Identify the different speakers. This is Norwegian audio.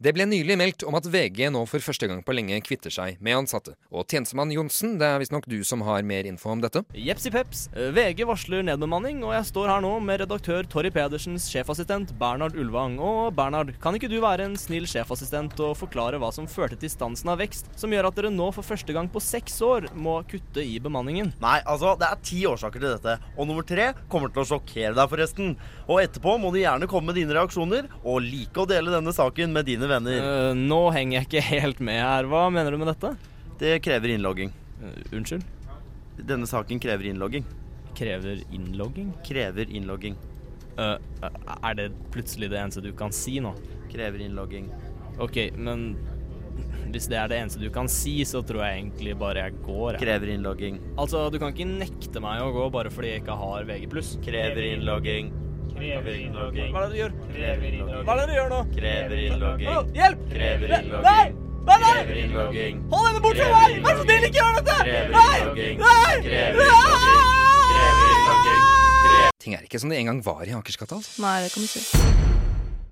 Speaker 1: Det ble nylig meldt om at VG nå for første gang på lenge kvitter seg med ansatte. Og tjenestemann Johnsen, det er visstnok du som har mer info om dette?
Speaker 2: Jepsi peps. VG varsler nedbemanning, og jeg står her nå med redaktør Torry Pedersens sjefassistent Bernhard Ulvang. Og Bernhard, kan ikke du være en snill sjefassistent og forklare hva som førte til stansen av vekst, som gjør at dere nå for første gang på seks år må kutte i bemanningen?
Speaker 3: Nei, altså, det er ti årsaker til dette, og nummer tre kommer til å sjokkere deg, forresten. Og etterpå må du gjerne komme med dine reaksjoner, og like å dele denne saken med dine venner.
Speaker 2: Eh, nå henger jeg ikke helt med her. Hva mener du med dette?
Speaker 3: Det krever innlogging.
Speaker 2: Eh, unnskyld?
Speaker 3: Denne saken krever innlogging.
Speaker 2: Krever innlogging?
Speaker 3: Krever innlogging.
Speaker 2: Eh, er det plutselig det eneste du kan si nå?
Speaker 3: Krever innlogging.
Speaker 2: Ok, men hvis det er det eneste du kan si, så tror jeg egentlig bare jeg går. Jeg.
Speaker 3: Krever innlogging.
Speaker 2: Altså, du kan ikke nekte meg å gå bare fordi jeg ikke har VG+.
Speaker 3: Krever innlogging. Krever innlogging.
Speaker 2: Hva er det du gjør?
Speaker 3: Krever
Speaker 2: Hva
Speaker 3: innlogging.
Speaker 2: er det du gjør nå?
Speaker 3: Krever
Speaker 2: Å,
Speaker 3: innlogging.
Speaker 2: Hjelp!
Speaker 3: Krever
Speaker 2: Ne-
Speaker 3: innlogging.
Speaker 2: Nei! Nei,
Speaker 3: Krever
Speaker 2: nei!
Speaker 3: innlogging.
Speaker 2: Hold henne bort fra
Speaker 3: Krever
Speaker 2: meg! Vær så snill, ikke gjør dette!
Speaker 3: Krever
Speaker 2: Nei!
Speaker 3: innlogging.
Speaker 2: Nei!
Speaker 3: Krever
Speaker 2: Nei!
Speaker 3: Krever innlogging.
Speaker 1: Ting er ikke som det en gang var i Akersgata, altså.
Speaker 4: Nei, det kan du si.